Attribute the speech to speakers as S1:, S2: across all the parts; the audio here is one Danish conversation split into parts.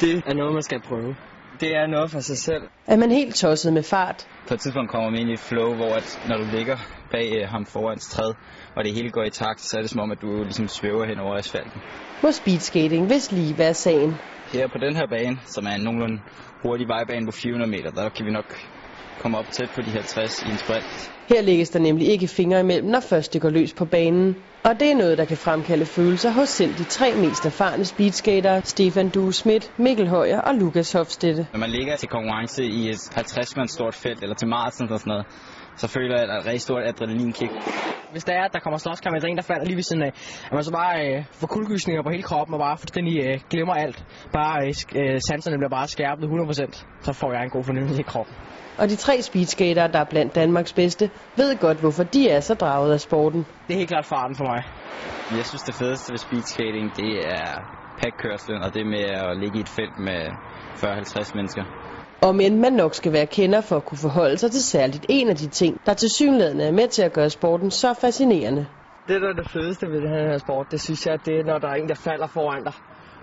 S1: Det er noget, man skal prøve. Det er noget for sig selv.
S2: Er man helt tosset med fart?
S3: På et tidspunkt kommer man ind i et flow, hvor at når du ligger bag øh, ham foran træd, og det hele går i takt, så er det som om, at du ligesom svæver hen over asfalten.
S2: Må speedskating hvis lige være sagen.
S3: Her på den her bane, som er en nogenlunde hurtig vejbane på 400 meter, der kan vi nok komme op tæt på de 50 i en sprint.
S2: Her lægges der nemlig ikke fingre imellem, når først det går løs på banen. Og det er noget, der kan fremkalde følelser hos selv de tre mest erfarne speedskatere, Stefan Due Schmidt, Mikkel Højer og Lukas Hofstede.
S3: Når man ligger til konkurrence i et 50-mands stort felt, eller til maraton og sådan noget, så føler jeg, at der er et rigtig stort adrenalinkick.
S4: Hvis der er, at der kommer slåskamp, og der er en, der falder lige ved siden af, at man så bare øh, får kuldegysninger på hele kroppen og bare fuldstændig øh, glemmer alt. Bare øh, sk- øh, sanserne bliver bare skærpet 100%, så får jeg en god fornemmelse i kroppen.
S2: Og de tre speedskatere, der er blandt Danmarks bedste, ved godt, hvorfor de er så draget af sporten.
S4: Det er helt klart farten for mig.
S3: Jeg synes, det fedeste ved speedskating, det er packkørslen, og det med at ligge i et felt med 40-50 mennesker.
S2: Om end man nok skal være kender for at kunne forholde sig til særligt en af de ting, der til synligheden er med til at gøre sporten så fascinerende.
S4: Det, der er det fedeste ved den her sport, det synes jeg, det er, når der er en, der falder foran dig.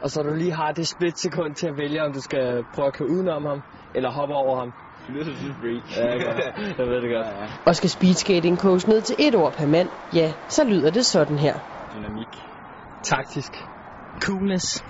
S4: Og så du lige har det splitsekund til at vælge, om du skal prøve at køre udenom ham, eller hoppe over ham.
S3: Det lyder som freak.
S4: Ja, jeg, jeg ved det godt.
S3: ja.
S2: Og skal speedskating koges ned til et ord per mand, ja, så lyder det sådan her.
S3: Dynamik.
S4: Taktisk. Coolness.